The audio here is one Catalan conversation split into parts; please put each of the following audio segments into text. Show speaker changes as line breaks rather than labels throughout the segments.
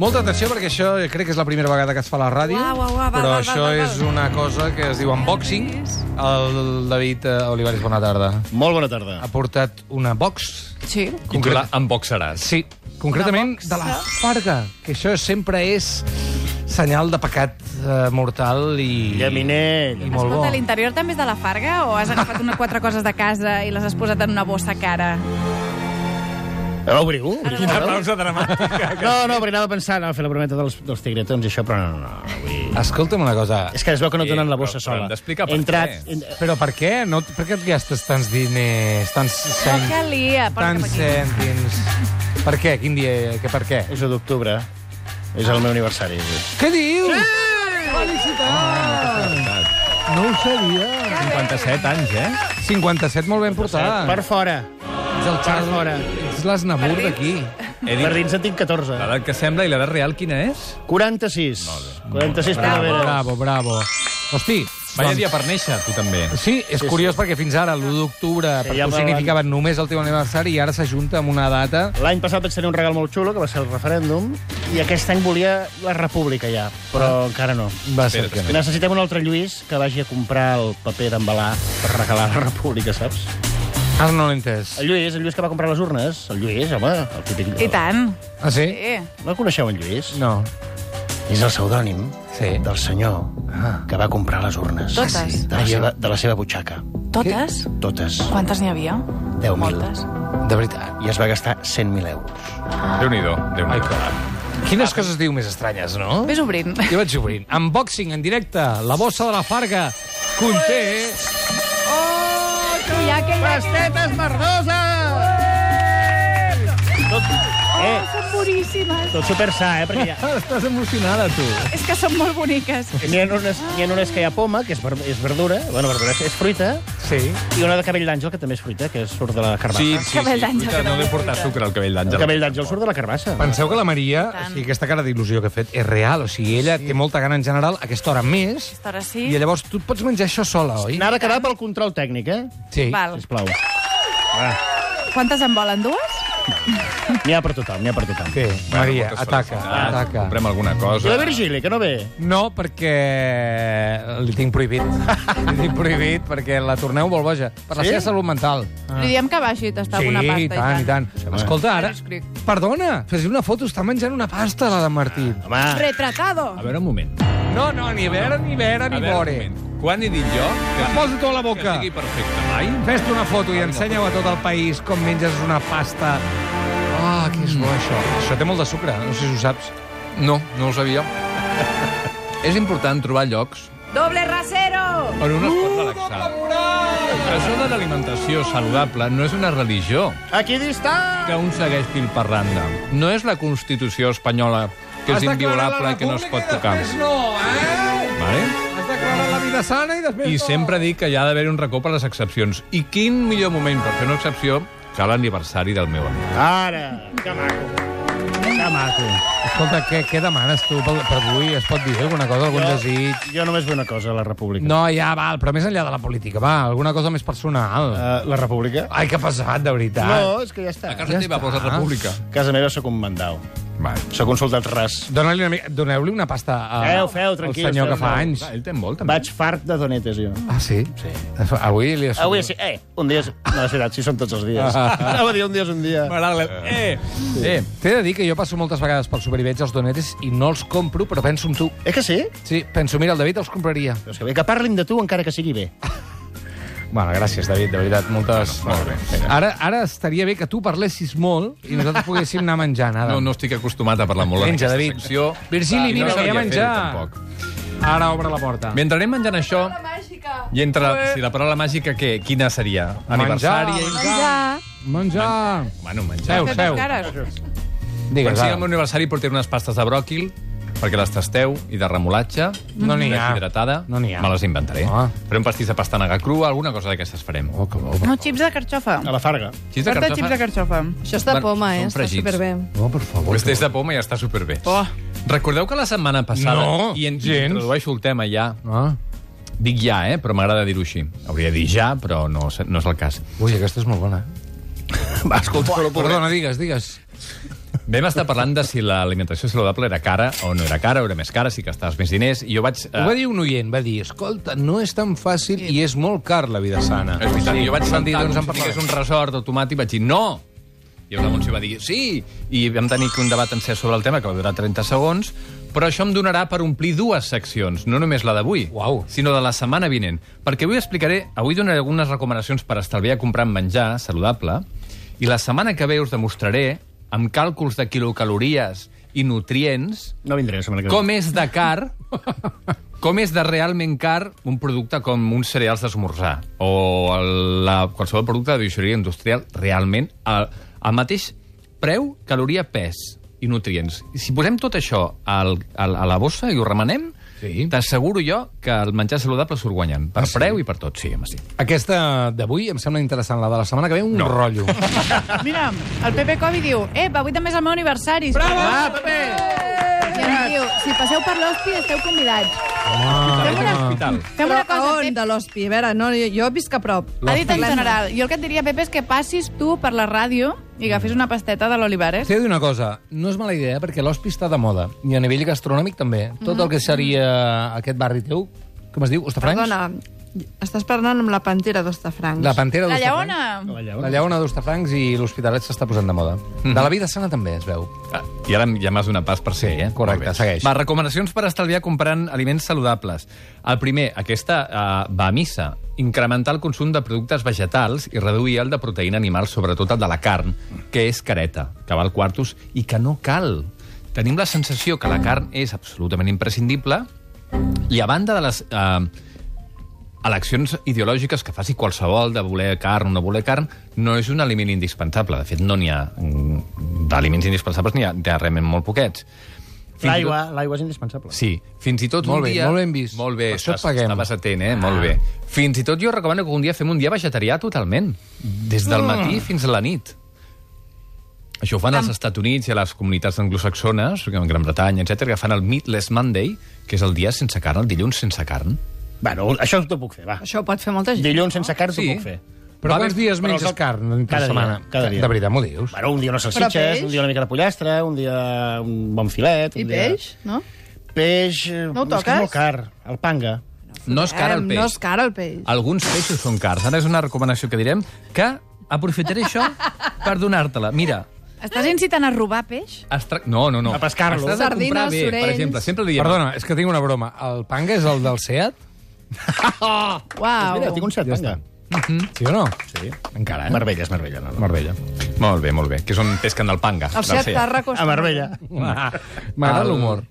Molta atenció, perquè això crec que és la primera vegada que es fa a la ràdio,
Uau, uau, uau, va,
però
va, va,
això
va, va.
és una cosa que es diu unboxing. El David eh, Olivares, bona tarda.
Molt bona tarda.
Ha portat una box,
Sí.
I tu la emboxaràs.
sí, concretament
box,
de la
eh?
Farga, que això sempre és senyal de pecat eh, mortal i...
Llaminell.
I molt bo.
Escolta, l'interior també és de la Farga o has agafat una quatre coses de casa i les has posat en una bossa cara?
Ara obriu?
Quina pausa dramàtica.
No, no, perquè anava pensant, anava a fer la brometa dels, dels tigretons i això, però no, no, no. Vull...
Escolta'm una cosa,
És que es veu que no et donen la
Eh,
bossa
però- però
sola.
hem d'explicar per què.
En... eh,
però per què? No, per què et gastes tants diners, tants
No
cèntims?
calia, porta'm
Tants
aquí.
cèntims. Per què? Quin dia? Que per què?
És l'1 d'octubre. És el meu aniversari.
Què dius? Felicitats! No ho sabia.
57 anys, eh?
57, molt ben portat.
Per fora.
Ets el Charles,
per fora.
Ets l'Asnabur d'aquí.
He
Per
dit
dins en tinc 14.
l'edat que sembla i l'edat real quina és?
46. 46 primavera.
Bravo, bravo. Hosti,
Vaya
doncs-
dia per néixer, tu també.
Sí, és
Sí,
curiós perquè fins ara l'1 d'octubre per
ja
tu
me l'han-
significava només el teu aniversari i ara s'ajunta amb una data...
L'any passat vaig tenir un regal molt xulo, que va ser el referèndum, i aquest any volia la república ja, però encara no.
Va ser
Espera't,
que no.
Necessitem un altre Lluís que vagi a comprar el paper d'embalar per regalar la república, saps?
Ara Ah, no l'he entès.
El Lluís, el Lluís que va comprar les urnes. El Lluís, home, el típic...
I tant.
Ah, sí?
Sí.
No el coneixeu, en Lluís?
No.
És el pseudònim
Sí.
del senyor
Ah.
que va comprar les urnes.
Totes?
Ah, sí? De la, seva, de la seva butxaca.
Totes?
Totes.
Quantes n'hi havia?
10.000.
Moltes.
De veritat.
I es va gastar 100.000 euros.
Déu-n'hi-do, déu nhi déu
Quines coses diu més estranyes, no?
Ves obrint.
Jo vaig obrint. Unboxing en directe. La bossa de la Farga conté...
Que hi ha, que hi ha...
Pastetes verdoses! Tot, eh,
Són boníssimes.
tot super sa, eh? Perquè hi ha,
Estàs emocionada, tu.
És que són molt boniques.
n'hi ha, unes, n'hi ha unes que hi ha poma, que és, ver, és verdura, bueno, verdura és, és fruita,
Sí.
i una de cabell d'àngel, que també és fruita, que surt de la carbassa.
Sí, sí, sí.
Cabell d'àngel,
Cuita, No
cabell
deu portar
d'àngel.
sucre al cabell
El
d'àngel.
cabell d'àngel surt de la carbassa.
Penseu que la Maria, o
Tant.
sigui, aquesta cara d'il·lusió que ha fet, és real. O sigui, ella té molta gana en general, a aquesta hora més,
Aquesta hora sí.
i llavors tu et pots menjar això sola, oi?
Anava a quedar pel control tècnic, eh?
Sí.
Val.
Sisplau.
Quantes en volen? Dues?
N'hi ha per tothom, n'hi ha per tothom.
Té, Maria,
moltes
ataca,
felicitats.
ataca.
Comprem alguna
I la
cosa.
Virgili, que no ve?
No, perquè li tinc prohibit. li tinc prohibit perquè la torneu molt boja. Per la
Sí?
seva salut mental.
Li diem que baixi i tastar
Ah. Sí,
alguna pasta.
i tant, i tant. Escolta, ara...
Ara escric.
Perdona, fes una foto, està menjant una pasta, la de Martí.
Home,
Retratado.
A veure un moment.
No, no, ni vera, ni vera,
A
ni
veure un
vore.
moment. Quan he dit jo que,
Posa-t'ho a la
que
boca.
sigui perfecte mai?
Fes-te una foto i ensenya-ho a tot el país com menges una pasta. Ah, que
Mm.
és bo, això. Això té molt de sucre,
eh?
no sé si ho saps.
No, no ho sabia. És important trobar llocs
Doble rasero.
on un es pot relaxar. La zona d'alimentació saludable no és una religió
aquí dista!
que un segueix fil per randa. No és la Constitució espanyola que és inviolable i que no es pot tocar.
Has no, eh?
Vale?
Has declarat la vida sana i després
I
no.
sempre dic que hi ha d'haver un recop a les excepcions. I quin millor moment per fer una excepció que l'aniversari del meu amic.
Ara! Que maco! Que maco!
Escolta, què, què demanes tu per, per avui? Es pot dir alguna cosa, algun desig?
jo només vull una cosa, la república.
No, ja, val, però més enllà de la política, va, alguna cosa més personal.
Uh, la república?
Ai, que pesat, de veritat.
No, és que ja està.
Ah. A casa
Ja
teva
està.
posa república.
Casa meva sóc un mandau.
Ah. Vale.
Sóc un soldat ras.
Dóna-li una, mica- doneu-li una pasta a,
Feu, feu, tranquils,
al senyor
feu,
que fa
feu.
anys.
Va, ell té molt, també.
Vaig fart de donetes, jo.
Ah, sí? sí? Avui li ha
Avui sí. Eh, un dia és... No, és veritat, sí, són tots els dies. Anava a dir un dia és un dia.
M'agrada. Eh! Eh!
T'he de dir que jo passo moltes vegades pel súper i veig els donetes i no els compro, però penso en tu.
Eh que sí?
Sí, penso, mira, el David els compraria.
Però és que bé, que parlin de tu encara que sigui bé.
Bueno, gràcies, David, de veritat, moltes...
Bueno, molt bé.
Ara, ara estaria bé que tu parlessis molt i nosaltres poguéssim anar menjant, ara.
No, no estic acostumat a parlar molt en
Menja,
aquesta
David.
secció.
Virgili,
I no
vine, que hi
sabia
ha menjar.
fer-ho, tampoc.
Ara obre la porta.
Mentre anem menjant això,
Màgica.
i entre... Si la paraula màgica, què? Quina seria? Aniversari?
Ja.
Menjar!
Bueno,
Seu,
menjar.
Fem
seu.
cares.
Quan
Digues,
sigui el
ara.
meu aniversari portaré unes pastes de bròquil perquè les tasteu i de remolatge.
No n'hi ha.
Deshidratada.
No n'hi ha.
Me les inventaré.
Ah.
Faré un pastís de pastanaga crua, alguna cosa d'aquestes farem.
Oh, que bo.
No, xips de carxofa.
A la farga.
Xis
Porta xips de carxofa.
Això és de
Bueno,
poma, eh?
són
Està
fregits.
superbé.
No, per favor.
Este és de poma i està superbé.
Oh.
Recordeu que la setmana passada...
No,
I en,
gens.
introdueixo el tema ja.
Ah.
Dic ja, eh? Però m'agrada dir-ho així. Hauria de dir ja, però no, se- no és el cas.
Ui, aquesta és molt bona.
Va, escolta,
Perdona, digues, digues.
Vam estar parlant de si l'alimentació saludable era cara o no era cara, o era més cara, si gastaves més diners, i jo vaig... eh,
Ho va dir un oient, va dir, escolta, no és tan fàcil i és molt car la vida sana.
És veritat, jo vaig
vam
sentir
dir,
doncs,
en
com si
parlarem.
tingués un resort automàtic, vaig dir no! I la Montse va dir sí! I vam tenir un debat en ser sobre el tema, que va durar 30 segons, però això em donarà per omplir dues seccions, no només la d'avui,
Uau.
sinó de la setmana vinent. Perquè avui explicaré, avui donaré algunes recomanacions per estalviar comprant menjar saludable, i la setmana que ve us demostraré, amb càlculs de quilocalories i nutrients,
No vindré la setmana que ve.
com és de car... Com és de realment car un producte com uns cereals d'esmorzar o el, la, qualsevol producte de bioxeria industrial realment al, al mateix preu, caloria, pes i nutrients. I Si posem tot això al, al, a la bossa i ho remenem,
Sí.
t'asseguro jo que el menjar saludable surt guanyant. Per
Ah,
ah,
sí?
preu i per tot, sí, home, sí.
Aquesta d'avui em sembla interessant, la de la setmana que ve, un no. rotllo.
Mira, el Pepe Covi diu, epa, avui també és el meu aniversari. Bravo!
I em diu, si passeu per l'hospi, esteu convidats.
Hospital,
una-
hospital.
Fem una cosa,
a on,
Pep.
de l'hospi? A veure, no, jo, jo visc a prop.
Ha dit en general. Jo el que et diria, Pepe, és que passis tu per la ràdio i agafis una pasteta de l'Olivares.
T'he de dir una cosa, no és mala idea, perquè l'hospi està de moda, i a nivell gastronòmic també. Tot el que seria aquest barri teu, com es diu, Ostafrancs?
Perdona, estàs parlant amb la pantera d'Ostafrancs.
La pantera
La
d'Ostafrancs.
lleona!
La llauna d'Ostafrancs i l'Hospitalet s'està posant de moda. De la vida sana també, es veu.
Ah, I ara ja m'has donat pas per ser,
Sí,
eh?
correcte,
Molt bé.
segueix.
Va, recomanacions per estalviar comprant aliments saludables. El primer, aquesta eh, va a missa. Incrementar el consum de productes vegetals i reduir el de proteïna animal, sobretot el de la carn, que és careta, que val quartos i que no cal. Tenim la sensació que la carn és absolutament imprescindible i a banda de les... Eh, eleccions ideològiques que faci qualsevol de voler carn o no voler carn no és un aliment indispensable. De fet, no n'hi ha mm, d'aliments indispensables, n'hi ha, n'hi ha realment molt poquets. Fins i
L'aigua, l'aigua és indispensable.
Sí, fins i tot
Molt
un
bé,
dia...
molt ben vist.
Molt bé,
Per això et
estàs-
paguem. Ah.
estaves atent, eh? Molt bé. Fins i tot jo recomano que un dia fem un dia vegetarià totalment, des
Mm.
del matí fins a la nit. Això ho fan als Estats Units i a les comunitats anglosaxones, en Gran Bretanya, etc que fan el Meatless Monday, que és el dia sense carn, el dilluns sense carn.
Bueno, això t'ho puc fer, va.
Això ho pot fer molta gent.
Dilluns sense carn t'ho
Sí.
puc fer.
Però
Va
quants
bé,
dies
però
menges
el-
carn per
cada dia,
setmana?
cada dia.
De veritat, m'ho dius?
Bueno, un dia unes
Però
salsitxes,
peix?
un dia una mica de pollastre, un dia un bon filet... Un
I
dia...
peix, no?
Peix... eh,
No ho
és que
toques?
És molt car, el panga.
No és cara el
Em,
peix.
Eh,
Ah,
No és car el peix.
Alguns peixos són cars. Ara és una recomanació que direm que aprofitaré això per donar-te-la. Mira,
Estàs incitant a robar peix?
es tra... No, no, no.
A pescar-lo.
Has de comprar
Sardines,
bé,
sorells.
Per exemple, sempre diem...
Perdona, és que tinc una broma. El panga és el del Seat?
Uau!
Mira, tinc un cert panga.
Mm.
Sí o no?
Sí.
Encara, eh?
Marbella, és Marbella. No, no.
Marbella.
Molt bé, molt bé, que és on pesquen del panga.
El
del
Seat
Seat.
Tarraco...
A Marbella.
M'agrada
El-
l'humor.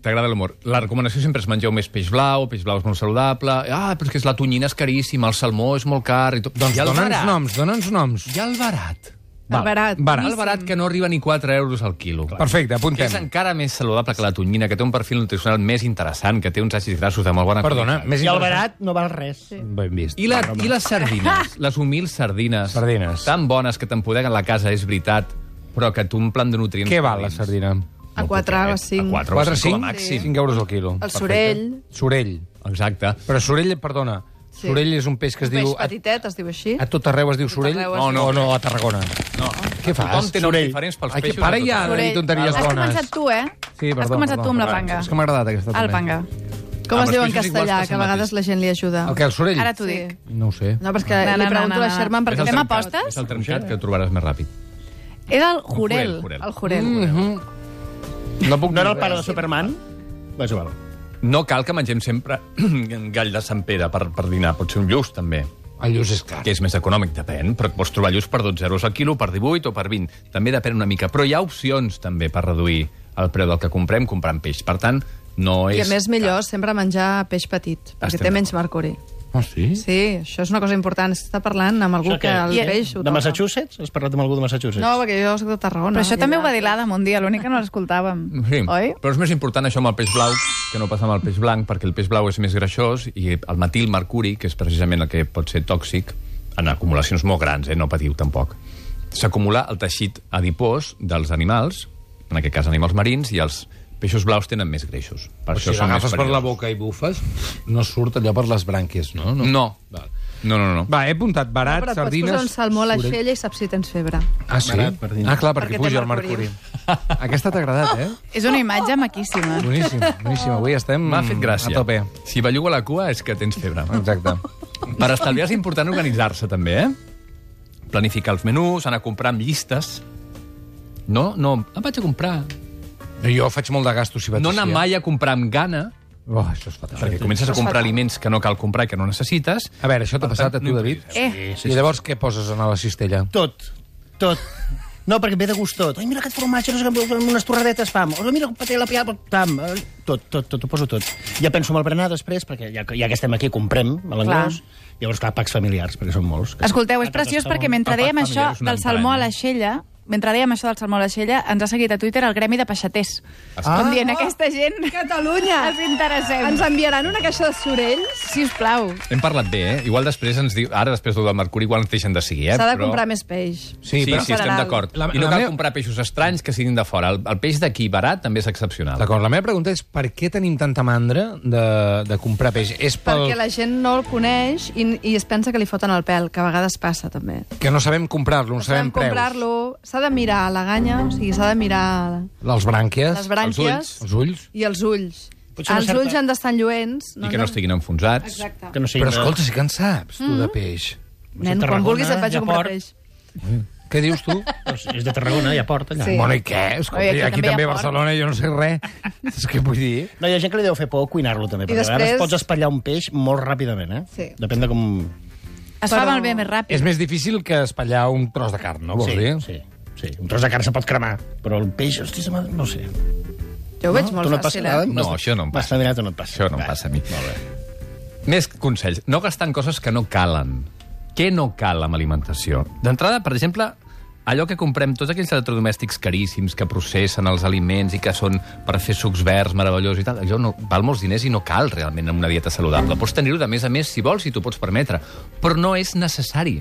T'agrada l'humor. La recomanació sempre és mengeu més peix blau, peix blau és molt saludable, ah, però és que és la tonyina és caríssima, el salmó és molt car... I tot.
Doncs
I el
dona'ns
barat.
noms, dona'ns noms.
I el barat.
El barat.
barat.
El barat que no arriba ni 4 euros al quilo.
Perfecte,
Que és
apuntem.
encara més saludable que la tonyina, que té un perfil nutricional més interessant, que té uns àcids grassos de molt bona
Perdona,
qualitat.
més
I el
interessant.
barat no val res. Sí.
Ben vist.
I, la, I les sardines, les humils sardines.
Sardines.
Tan bones que t'empodeguen la casa, és veritat, però que t'omplen de nutrients.
Què val la
calents.
sardina?
A quatre o
poquet,
a cinc.
A 4 o
4
5,
o 5?
com a màxim.
5 euros al quilo.
El sorell.
Sorell.
Exacte.
Però sorell, perdona,
Sí.
sorell és un peix que es
Un peix
diu... a-
petitet, es diu així.
A tot arreu es diu sorell?
arreu es
o
diu
no, o no, a Tarragona.
No.
Què fas?
Tothom té noms
Sorell.
diferents pels
Ai, que
peixos. de
para
tot
ja
arreu.
de dir tonteries
Has
bones.
començat tu, eh?
Sí, perdó,
Has començat
perdó,
tu amb la
perdó.
panga.
És que m'ha agradat aquesta
El
també.
panga.
Com
Ah,
es diu
però
en
és igual,
castellà,
passa
que a
el
vegades
mateix.
la gent li ajuda?
El que, el sorell?
Ara t'ho dic.
No ho sé.
No, però és que
No, no,
li pregunto
no,
a
no.
Sherman
És el
perquè...
Fem
trencat,
apostes?
És el trencat que trobaràs més ràpid.
És el jurel.
El jurel.
El jurel.
Mm. Mhm. No puc
No era
dir
el pare de
res.
Superman? Va, és igual.
No cal que mengem sempre gall de Sant Pere per, per dinar. Pot ser un lluç, també.
El lluç és car.
Ah. que és més econòmic, depèn, però pots trobar lluç per 12 euros al quilo, per 18 o per 20. També depèn una mica, però hi ha opcions també per reduir el preu del que comprem comprant peix. Per tant, no és...
I a més millor sempre menjar peix petit, perquè té
Estem d'acord.
menys mercuri.
Ah, sí?
Sí, això és una cosa important. S'està parlant amb algú
Això
que
què?
el peix ho
De
toca.
Massachusetts? Has parlat amb algú de Massachusetts?
No, perquè jo soc de Tarragona.
Però això
I
també ho va
allà-
dir l'Adam un dia, l'únic que no l'escoltàvem.
Sí,
Oi?
però és més important això amb el peix blau que no passa amb el peix blanc, perquè el peix blau és més greixós i el metil mercuri, que és precisament el que pot ser tòxic, en acumulacions molt grans, eh? no patiu tampoc, s'acumula el teixit adipós dels animals, en aquest cas animals marins, i els peixos blaus tenen més greixos. Per
O
això
sigui,
són més
l'agafes per la
perillosos.
boca i bufes, no surt allò per les branques, no? no.
No. No, no, no.
Mm. Va, he apuntat barat,
Però et pots
sardines...
posar un salmó a la
sorell.
xella i saps si tens febre.
Ah, sí?
Barat, per dinar.
ah, clar, perquè,
Perquè té
puja el
mercuri.
mercuri. Aquesta t'ha agradat, eh?
És una imatge maquíssima.
Boníssim, boníssim. Avui estem
M'ha fet gràcia.
Mm, a tope.
Si belluga la cua és que tens febre.
Exacte.
Per estalviar és important organitzar-se, també, eh? Planificar els menús, anar a comprar amb llistes. No, no, em vaig a comprar.
No, jo faig molt de gastos si vaig
No anar
així, eh?
mai a comprar amb gana,
Oh, això és fatal.
perquè comences a comprar aliments que no cal comprar i que no necessites.
A veure, això t'ha passat a tu,
no
David?
Eh,
I llavors què poses en la cistella?
Tot, tot. No, perquè em ve de gust tot. Ai, mira aquest formatge, no sé què, amb unes torradetes, pam. O mira, un paté a la pial, pam. Eh, Tot, tot, tot, ho poso tot. Ja penso en el berenar després, perquè ja, que- ja que estem aquí comprem a l'engròs. Llavors, clar, pacs familiars, perquè són molts. Que...
Escolteu, és
Ara
preciós
tot està
perquè
molt-
mentre
papat
dèiem
familiar
això
és una
del salmó a
entranya.
l'aixella, mentre dèiem això del salmó a l'aixella, ens ha seguit a Twitter el gremi de peixaters. Ah. Com dient, aquesta gent
Catalunya!
ens interessem.
Ens enviaran una caixa de sorells?
Si us plau,
Hem parlat bé, eh? Igual després ens diu... Ara, després del Mercuri, igual ens deixen de seguir, eh?
S'ha de comprar més peix.
Sí, sí,
però-
sí estem
Federal.
d'acord.
La-
I no
la
cal
meva-
comprar peixos estranys que siguin de fora. El, el peix d'aquí barat també és excepcional.
D'acord, la meva pregunta és per què tenim tanta mandra de, de comprar peix? És pel
Perquè la gent no el coneix i, i es pensa que li foten el pèl, que a vegades passa, també.
que no sabem comprar-lo, no sabem
S'ha de
preus.
comprar-lo, s'ha de mirar la ganya, o sigui, s'ha de mirar
Les brànquies,
les brànquies
els ulls...
i els ulls.
Potser una
els
certa-
ulls han d'estar lluents.
I que no estiguin enfonsats.
Exacte.
Que no sigui
Però
de-
escolta, sí que en saps, tu, de peix.
Nen, quan
Tarragona,
vulguis et vaig
hi ha
a comprar
port.
peix.
Què dius tu?
Doncs És de Tarragona, ja porta allà. Sí.
Bueno, i què? Escolta,
Oi,
aquí, aquí també,
hi ha
a
porc.
Barcelona jo no sé res. És que vull dir...
No, hi ha gent que li deu fer por cuinar-lo, també. Perquè després... a
després-
vegades pots espatllar un peix molt ràpidament, eh?
Sí.
Depèn de com...
es fa malbé més ràpid.
És més difícil que espallar un tros de carn, no vols
sí,
dir?
sí, sí. Un tros de carn se pot cremar, però el peix, hosti, se m'ha- no ho sé.
Jo ho veig
tu
molt
no et passa
fàcil,
nada?
eh?
No, això no em
Vas
passa.
familiar, tu no et passa.
Això no em
Va.
passa a mi.
Molt bé.
Més consells. No gastar en coses que no calen. Què no cal amb alimentació? D'entrada, per exemple, allò que comprem, tots aquells electrodomèstics caríssims que processen els aliments i que són per fer sucs verds meravellosos i tal, allò no, val molts diners i no cal realment en una dieta saludable. Pots tenir-ho de més a més si vols, si t'ho pots permetre, però no és necessari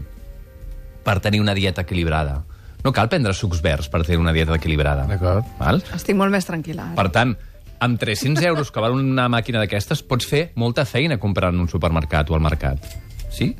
per tenir una dieta equilibrada. No cal prendre sucs verds per tenir una dieta equilibrada.
D'acord.
Val?
Estic molt més tranquil·la.
Per tant, amb 300 euros que val una màquina d'aquestes, pots fer molta feina comprant en un supermercat o al mercat. Sí?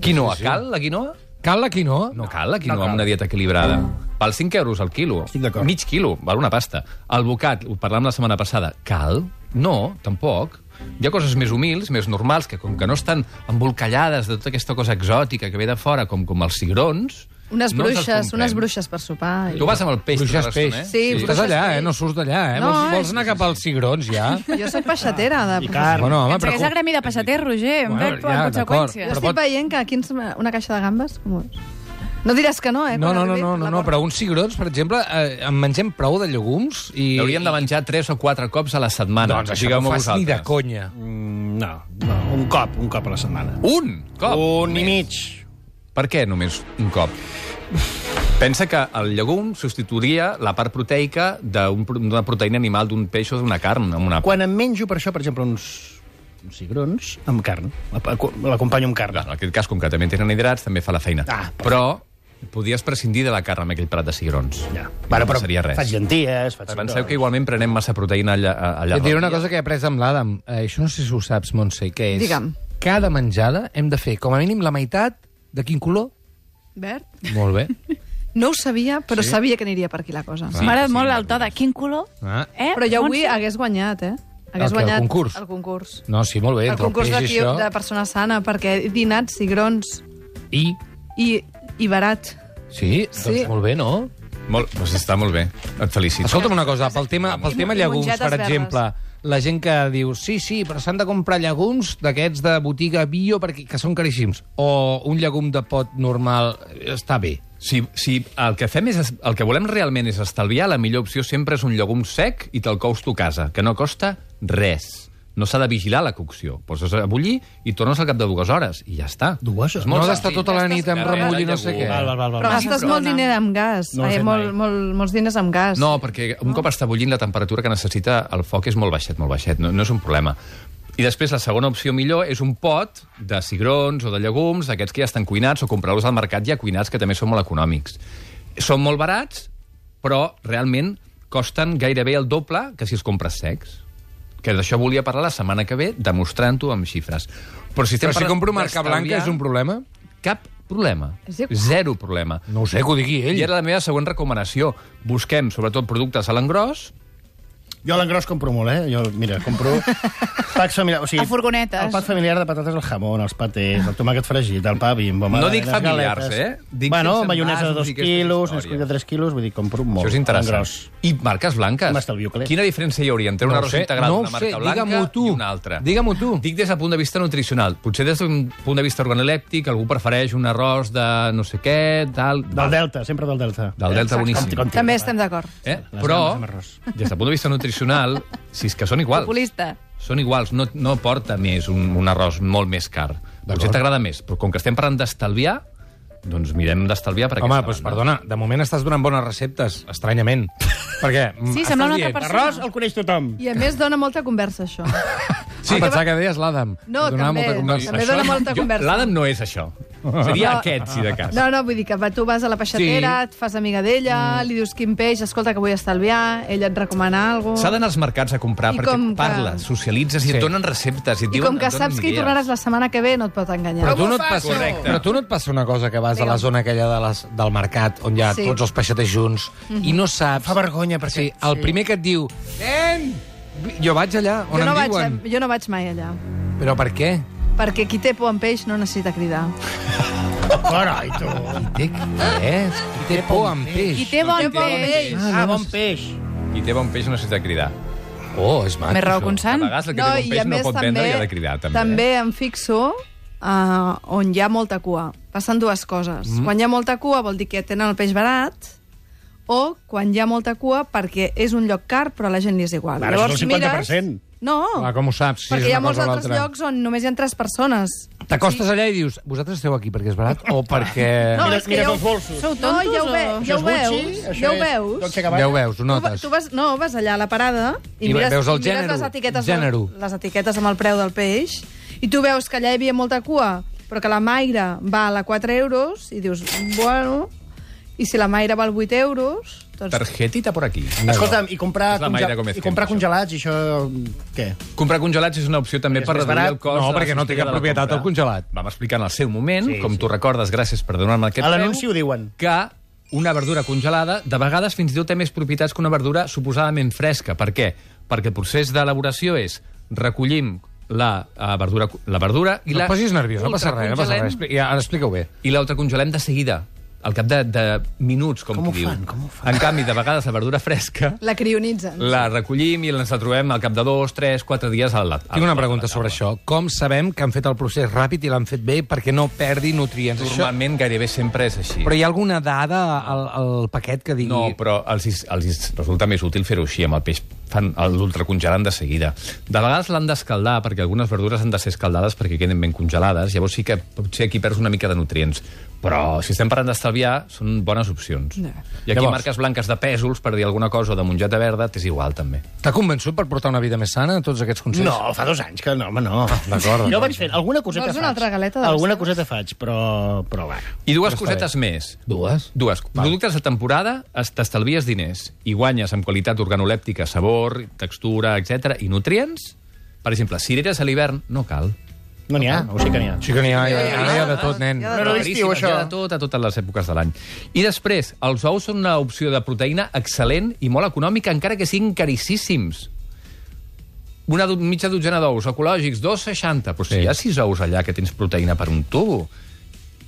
Quinoa, sí, sí. cal la quinoa?
Cal la quinoa?
No cal la quinoa no cal. amb una dieta equilibrada. Val 5 euros al quilo.
Estic d'acord.
Mig quilo, val una pasta. El bocat, ho parlàvem la setmana passada, cal? No, tampoc. Hi ha coses més humils, més normals, que com que no estan embolcallades de tota aquesta cosa exòtica que ve de fora, com com els cigrons...
Unes
no ens els
bruixes,
comprem.
unes bruixes per sopar. I...
Tu vas amb el peix. tota
Bruixes
l'estona,
peix.
Sí,
Tu Estàs
bruixes
allà, eh?
peix.
No surts d'allà, eh?
No,
vols, vols
és-
anar cap als cigrons, ja?
Jo sóc peixatera. De...
I carn.
Bueno, home,
Ens
però...
hagués el gremi de peixaters, Roger, em
Bueno,
veig per
ja,
Jo
conseqüències.
d'acord,
estic
Però pot-
veient que aquí ens... una caixa de gambes, com ho és? No diràs que no, eh?
No,
quan
no, no,
arribi
no,
la
no, no,
porta.
però uns cigrons, per exemple, eh, en mengem prou de llegums i...
I hauríem de menjar 3 o 4 cops a la setmana.
Doncs això
Digueu-me
no ho fas ni de
vosaltres.
conya.
Mm, no, no, un cop, un cop a la setmana.
Un cop?
Un i mig.
Per què només un cop? Pensa que el llegum substituiria la part proteica d'un pro- d'una proteïna animal, d'un peix o d'una carn. Amb una...
Quan em menjo, per això, per exemple, uns, uns cigrons amb carn. L'acompanyo amb carn.
En aquest cas, com que també tenen hidrats, també fa la feina.
Ah, perfecte.
però podies prescindir de la carn amb aquell prat de cigrons.
Ja.
Bueno, però seria res.
Faig llenties, faig...
Penseu que igualment prenem massa proteïna allà. allà
Et diré una cosa que he après amb l'Adam. Eh, això no sé si ho saps, Montse, què és.
Digue'm.
Cada menjada hem de fer com a mínim la meitat de quin color?
Verd?
Molt bé.
No ho sabia, però sí. sabia que aniria per aquí la cosa.
Sí,
M'ha agradat
sí,
molt
sí,
el to de quin color.
Ah.
Eh?
Però jo avui
Montse?
hagués guanyat, eh?
El
Hagués
que, el
guanyat
concurs?
El concurs.
No, sí, molt bé.
El
entre
concurs
peix i
d'aquí
això.
de persona sana, perquè he dinat cigrons
I?
i, i barat.
Sí, doncs
Sí.
molt bé, no?
Molt, doncs està molt bé. Et felicito.
Escolta'm una cosa, pel tema, pel
I
tema
mon- i
llegums,
mongetes
per
verdes.
exemple, la gent que diu, sí, sí, però s'han de comprar llegums d'aquests de botiga bio perquè que són caríssims, o un llegum de pot normal eh, està bé.
Si, si el que fem és, el que volem realment és estalviar, la millor opció sempre és un llegum sec i te'l cous tu a casa, que no costa res. No s'ha de vigilar la cocció. Poses a bullir i tornes al cap de dues hores. I ja està.
Dues hores?
És
No
molt
has d'estar
senzill.
tota la nit amb
Estàs-
remull i no sé
eh?
què.
Val, val, val.
Però
val.
Gastes
sincrona.
molt diner amb gas.
No ho he
Ai,
fet
molt,
mai.
molt, molts diners amb gas.
No, perquè un cop està bullint la temperatura que necessita el foc és molt baixet, molt baixet, no, no és un problema. I després la segona opció millor és un pot de cigrons o de llegums, d'aquests que ja estan cuinats, o comprar-los al mercat ja cuinats, que també són molt econòmics. Són molt barats, però realment costen gairebé el doble que si els compres secs. Que d'això volia parlar la setmana que ve, demostrant-ho amb xifres. Però si, estem
Però si
parlant
compro marca blanca
d'estalviar-
és un problema?
cap problema.
És igual.
Zero problema.
No ho sé, que ho digui ell.
I era la meva següent recomanació. Busquem, sobretot, productes a l'engròs.
Jo a l'engròs compro molt, eh? Jo, mira, compro... Packs familiar, o sigui,
A furgonetes.
El pack familiar de patates, el jamón, els patés, el tomàquet fregit, el pa bimbo...
No
madre,
dic
les
familiars,
galetes.
eh? Dic
bueno,
sense
maionesa
envasos
de dos
i aquestes
quilos,
històries.
nesquik de tres quilos, vull dir, compro molt.
Això és interessant.
L'engròs.
I marques blanques.
M'estalvio calés.
Quina diferència hi hauria entre
No
una
ho
rosa
sé,
integral
no ho
d'una marca
sé,
blanca
digue-m'ho tu.
i una altra?
Digue-m'ho tu.
Dic des del punt de vista nutricional. Potser des d'un punt de vista organolèptic algú prefereix un arròs de no sé què, tal...
Del Delta, sempre del Delta.
Del Delta, boníssim.
Com- com-
També estem d'acord.
doncs.
Eh?
Les
Però,
gambes amb arròs.
des del punt de vista nutricional, si és que són iguals.
Populista.
Són iguals, no, no porta més un, un arròs molt més car. Potser t'agrada més, però com que estem parlant d'estalviar, doncs mirem d'estalviar per
Home,
aquesta
doncs
banda.
perdona, de moment estàs donant bones receptes, estranyament. Perquè... mm,
Sí,
estàs
sembla una
dient,
altra persona.
Arròs el coneix tothom.
I a més dona molta conversa, això.
Sí, ah, pensava que deies l'Adam.
No,
Donava Molta
també.
conversa.
També dona molta
jo-
conversa.
L'Adam no és això. Seria aquest, si de cas.
No, no, vull dir que va- tu vas a la peixatera, sí. et fas amiga d'ella, mm. li dius quin peix, escolta, que vull estalviar, ella et recomana alguna
S'ha
cosa...
d'anar als mercats a comprar
I
perquè
com que-
parles, socialitzes i
Sí.
et donen receptes. I, et
I
diuen,
com que
et donen
saps que hi
idees.
tornaràs la setmana que ve, no et pot enganyar.
Però tu, no et
faig,
passa,
correcte.
però tu no et passa una cosa que vas a la zona aquella de les, del mercat on hi ha
Sí. Mhm.
sí. tots els peixaters junts i no saps...
Fa vergonya, perquè-
Sí, el
sí.
primer que et diu... Nen! Jo vaig allà on
jo, no
em
vaig,
diuen...
jo no vaig mai allà,
Però per què?
perquè qui té por en peix no necessita cridar.
Carai, tu.
Qui té, què és?
Ah.
Qui té por amb peix?
Qui té bon peix...
Ah, bon peix.
Qui té bon peix no necessita cridar.
Oh, és maco.
Més raó
això.
A
constant.
vegades el que no, té bon peix no pot vendre i ha de cridar, també. eh?
també em fixo uh, on hi ha molta cua. Passen dues coses. Mm. Quan hi ha molta cua vol dir que tenen el peix barat o quan hi ha molta cua perquè és un lloc car però a la gent li és igual.
Clar, això és el 50%.
Mires... No,
Clar, com ho saps? Si
perquè
és
hi ha
una
molts
cosa o
altres
l'altra.
llocs on només hi ha tres persones.
T'acostes allà i dius, vosaltres esteu aquí perquè és barat o perquè...
No,
Mira-
és que
mira
ja ho-
els bolsos.
Sou
No,
tontos
ja ho, ve,
o...
ja
Això
ho
és
veus.
Gucci,
ja
això
ho
és
veus.
Dolce Gabbana.
Ja ho veus, ho
Tu, va-
notes.
tu, vas, no, vas allà a la parada i,
I
mires,
veus el
i
gènere,
mires les etiquetes,
gènere.
les etiquetes amb el preu del peix i tu veus que allà hi havia molta cua, però que la maire val a 4 euros i dius, bueno, i si la maire val 8 euros, doncs
Targetita por aquí.
Escolta'm, i comprar,
És la Mayra
conge-
Gómez
i comprar
Kemp, això.
congelats, i això... Què?
Comprar congelats és una opció també
És
per
més
reduir
barat?
el cost...
No,
de la
perquè no té
cistella
cap
de la
propietat
compra.
el congelat.
Vam explicar en el seu moment,
Sí,
com
sí.
tu recordes, gràcies per donar-me aquest
A l'anunci
preu,
ho diuen.
que una verdura congelada de vegades fins i tot té més propietats que una verdura suposadament fresca. Per què? Perquè el procés d'elaboració és recollim la, eh, verdura, la verdura i
No
la...
et posis nerviós, no passa res, no passa res.
ultracongelem
Expli- Ja, ara explica-ho bé.
i l'ultracongelem de seguida, al cap de, de minuts, com,
Com ho
qui diu.
fan? Com ho fan?
En canvi, de vegades la verdura fresca
la crionitzen.
la recollim i ens la trobem al cap de dos, tres, quatre dies a la...
Tinc una pregunta sobre això. Com sabem que han fet el procés ràpid i l'han fet bé perquè no perdi nutrients? Això...
Normalment gairebé sempre és així.
Però hi ha alguna dada al, al paquet que digui...
No, però els, is- els is- resulta més útil fer-ho així amb el peix. Fan l'ultracongelant de seguida. De vegades l'han d'escaldar, perquè algunes verdures han de ser escaldades perquè queden ben congelades, llavors sí que potser aquí perds una mica de nutrients. Però si estem parlant d'estalviar, són bones opcions.
No.
I aquí
Llavors-
marques blanques de pèsols, per dir alguna cosa, o de mongeta verda, t'és igual, també.
T'ha convençut per portar una vida més sana, tots aquests consells?
No, fa dos anys que no, home, no.
D'acord,
Jo
d'acord.
vaig fent alguna coseta
Vols
faig.
una altra galeta de
Alguna
les
coseta faig, però... però va.
I dues
Però està
cosetes més.
Dues?
Dues. Productes de temporada, es- t'estalvies diners i guanyes amb qualitat organolèptica, sabor, textura, etc i nutrients. Per exemple, cireres a l'hivern no cal.
No n'hi ha, o sí que n'hi ha.
Sí que n'hi ha, hi ha, hi ha de tot, nen.
No era l'estiu,
Raríssimes,
això.
hi ha de tot a totes les èpoques de l'any. I després, els ous són una opció de proteïna excel·lent i molt econòmica, encara que siguin carissíssims. Una do- mitja dotzena d'ous ecològics, 2,60. Però si
Sí.
hi ha sis ous allà que tens proteïna per un tubo,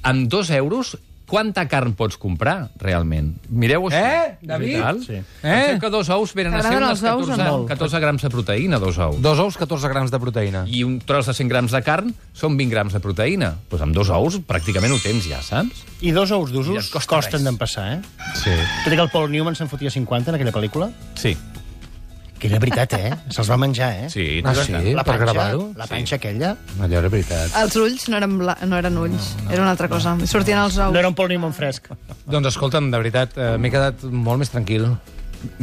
amb dos euros, quanta carn pots comprar, realment? Mireu això.
Eh, David?
Sí.
Sí.
Eh?
Eh?
Penseu que dos ous venen a ser
T'agraden
unes
els ous o
14,
no?
14 grams de proteïna, dos ous
Dos ous, 14 grams de proteïna.
i un tros de 100 grams de carn són 20 grams de proteïna. Doncs pues amb dos ous pràcticament ho tens ja, saps?
I dos ous
Ja
d'usos
et costa
costa costen
res.
d'empassar, eh?
Sí.
Tot i que el Paul Newman se'n fotia 50 en aquella pel·lícula.
Sí.
Que era veritat, eh? Se'ls va menjar, eh?
Sí,
Ah,
tant.
sí? Per gravar-ho?
La panxa aquella.
Allò era veritat.
Els ulls no eren, bla... no eren ulls, era una altra cosa. Sortien els ous.
No era un Paul Newman fresc.
Doncs escolta'm, de veritat, eh, m'he quedat molt més tranquil.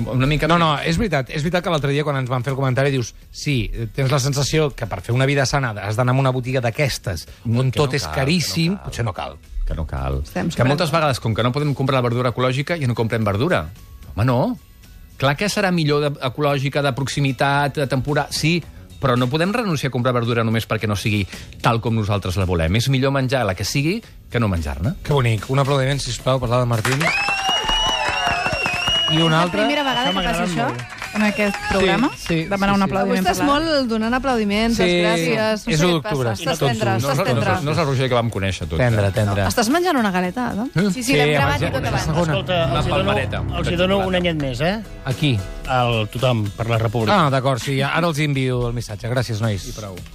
Una mica...
No, no, és veritat. És veritat que l'altre dia, quan ens van fer el comentari, dius sí, eh, tens la sensació que per fer una vida sana has d'anar a una botiga d'aquestes on
Mm, que no
tot és
cal,
caríssim,
que
potser no
no cal.
cal.
Que no cal.
Estem
que moltes vegades, com que no podem comprar la verdura ecològica, ja no comprem verdura. Home, no. Clar que serà millor de, ecològica, de proximitat, de temporada... Sí, Però no podem renunciar a comprar verdura només perquè no sigui tal com nosaltres la volem. És millor menjar la que sigui que no menjar-ne.
Que bonic. Un aplaudiment, sisplau, per l'Ada Martín. I un
La
altre...
primera vegada que passa això, en aquest programa,
sí,
demanar
sí,
un
sí.
aplaudiment.
Avui estàs
per l'Ada.
molt donant aplaudiments, les gràcies.
és u
no sé què et
d'octubre.
passa. Estàs
I tot
tendre,
surt.
estàs tendre.
No és la Roger que vam conèixer tot.
Tendre, tendre.
Estàs menjant una galeta, no?
Sí, sí, l'hem gravat i tot abans.
Segona.
Escolta,
Una
els hi dono,
palmereta.
els hi dono un anyet més, eh?
Aquí.
El tothom per la República.
Ah, d'acord, sí, ara els envio el missatge. Gràcies, nois. I prou.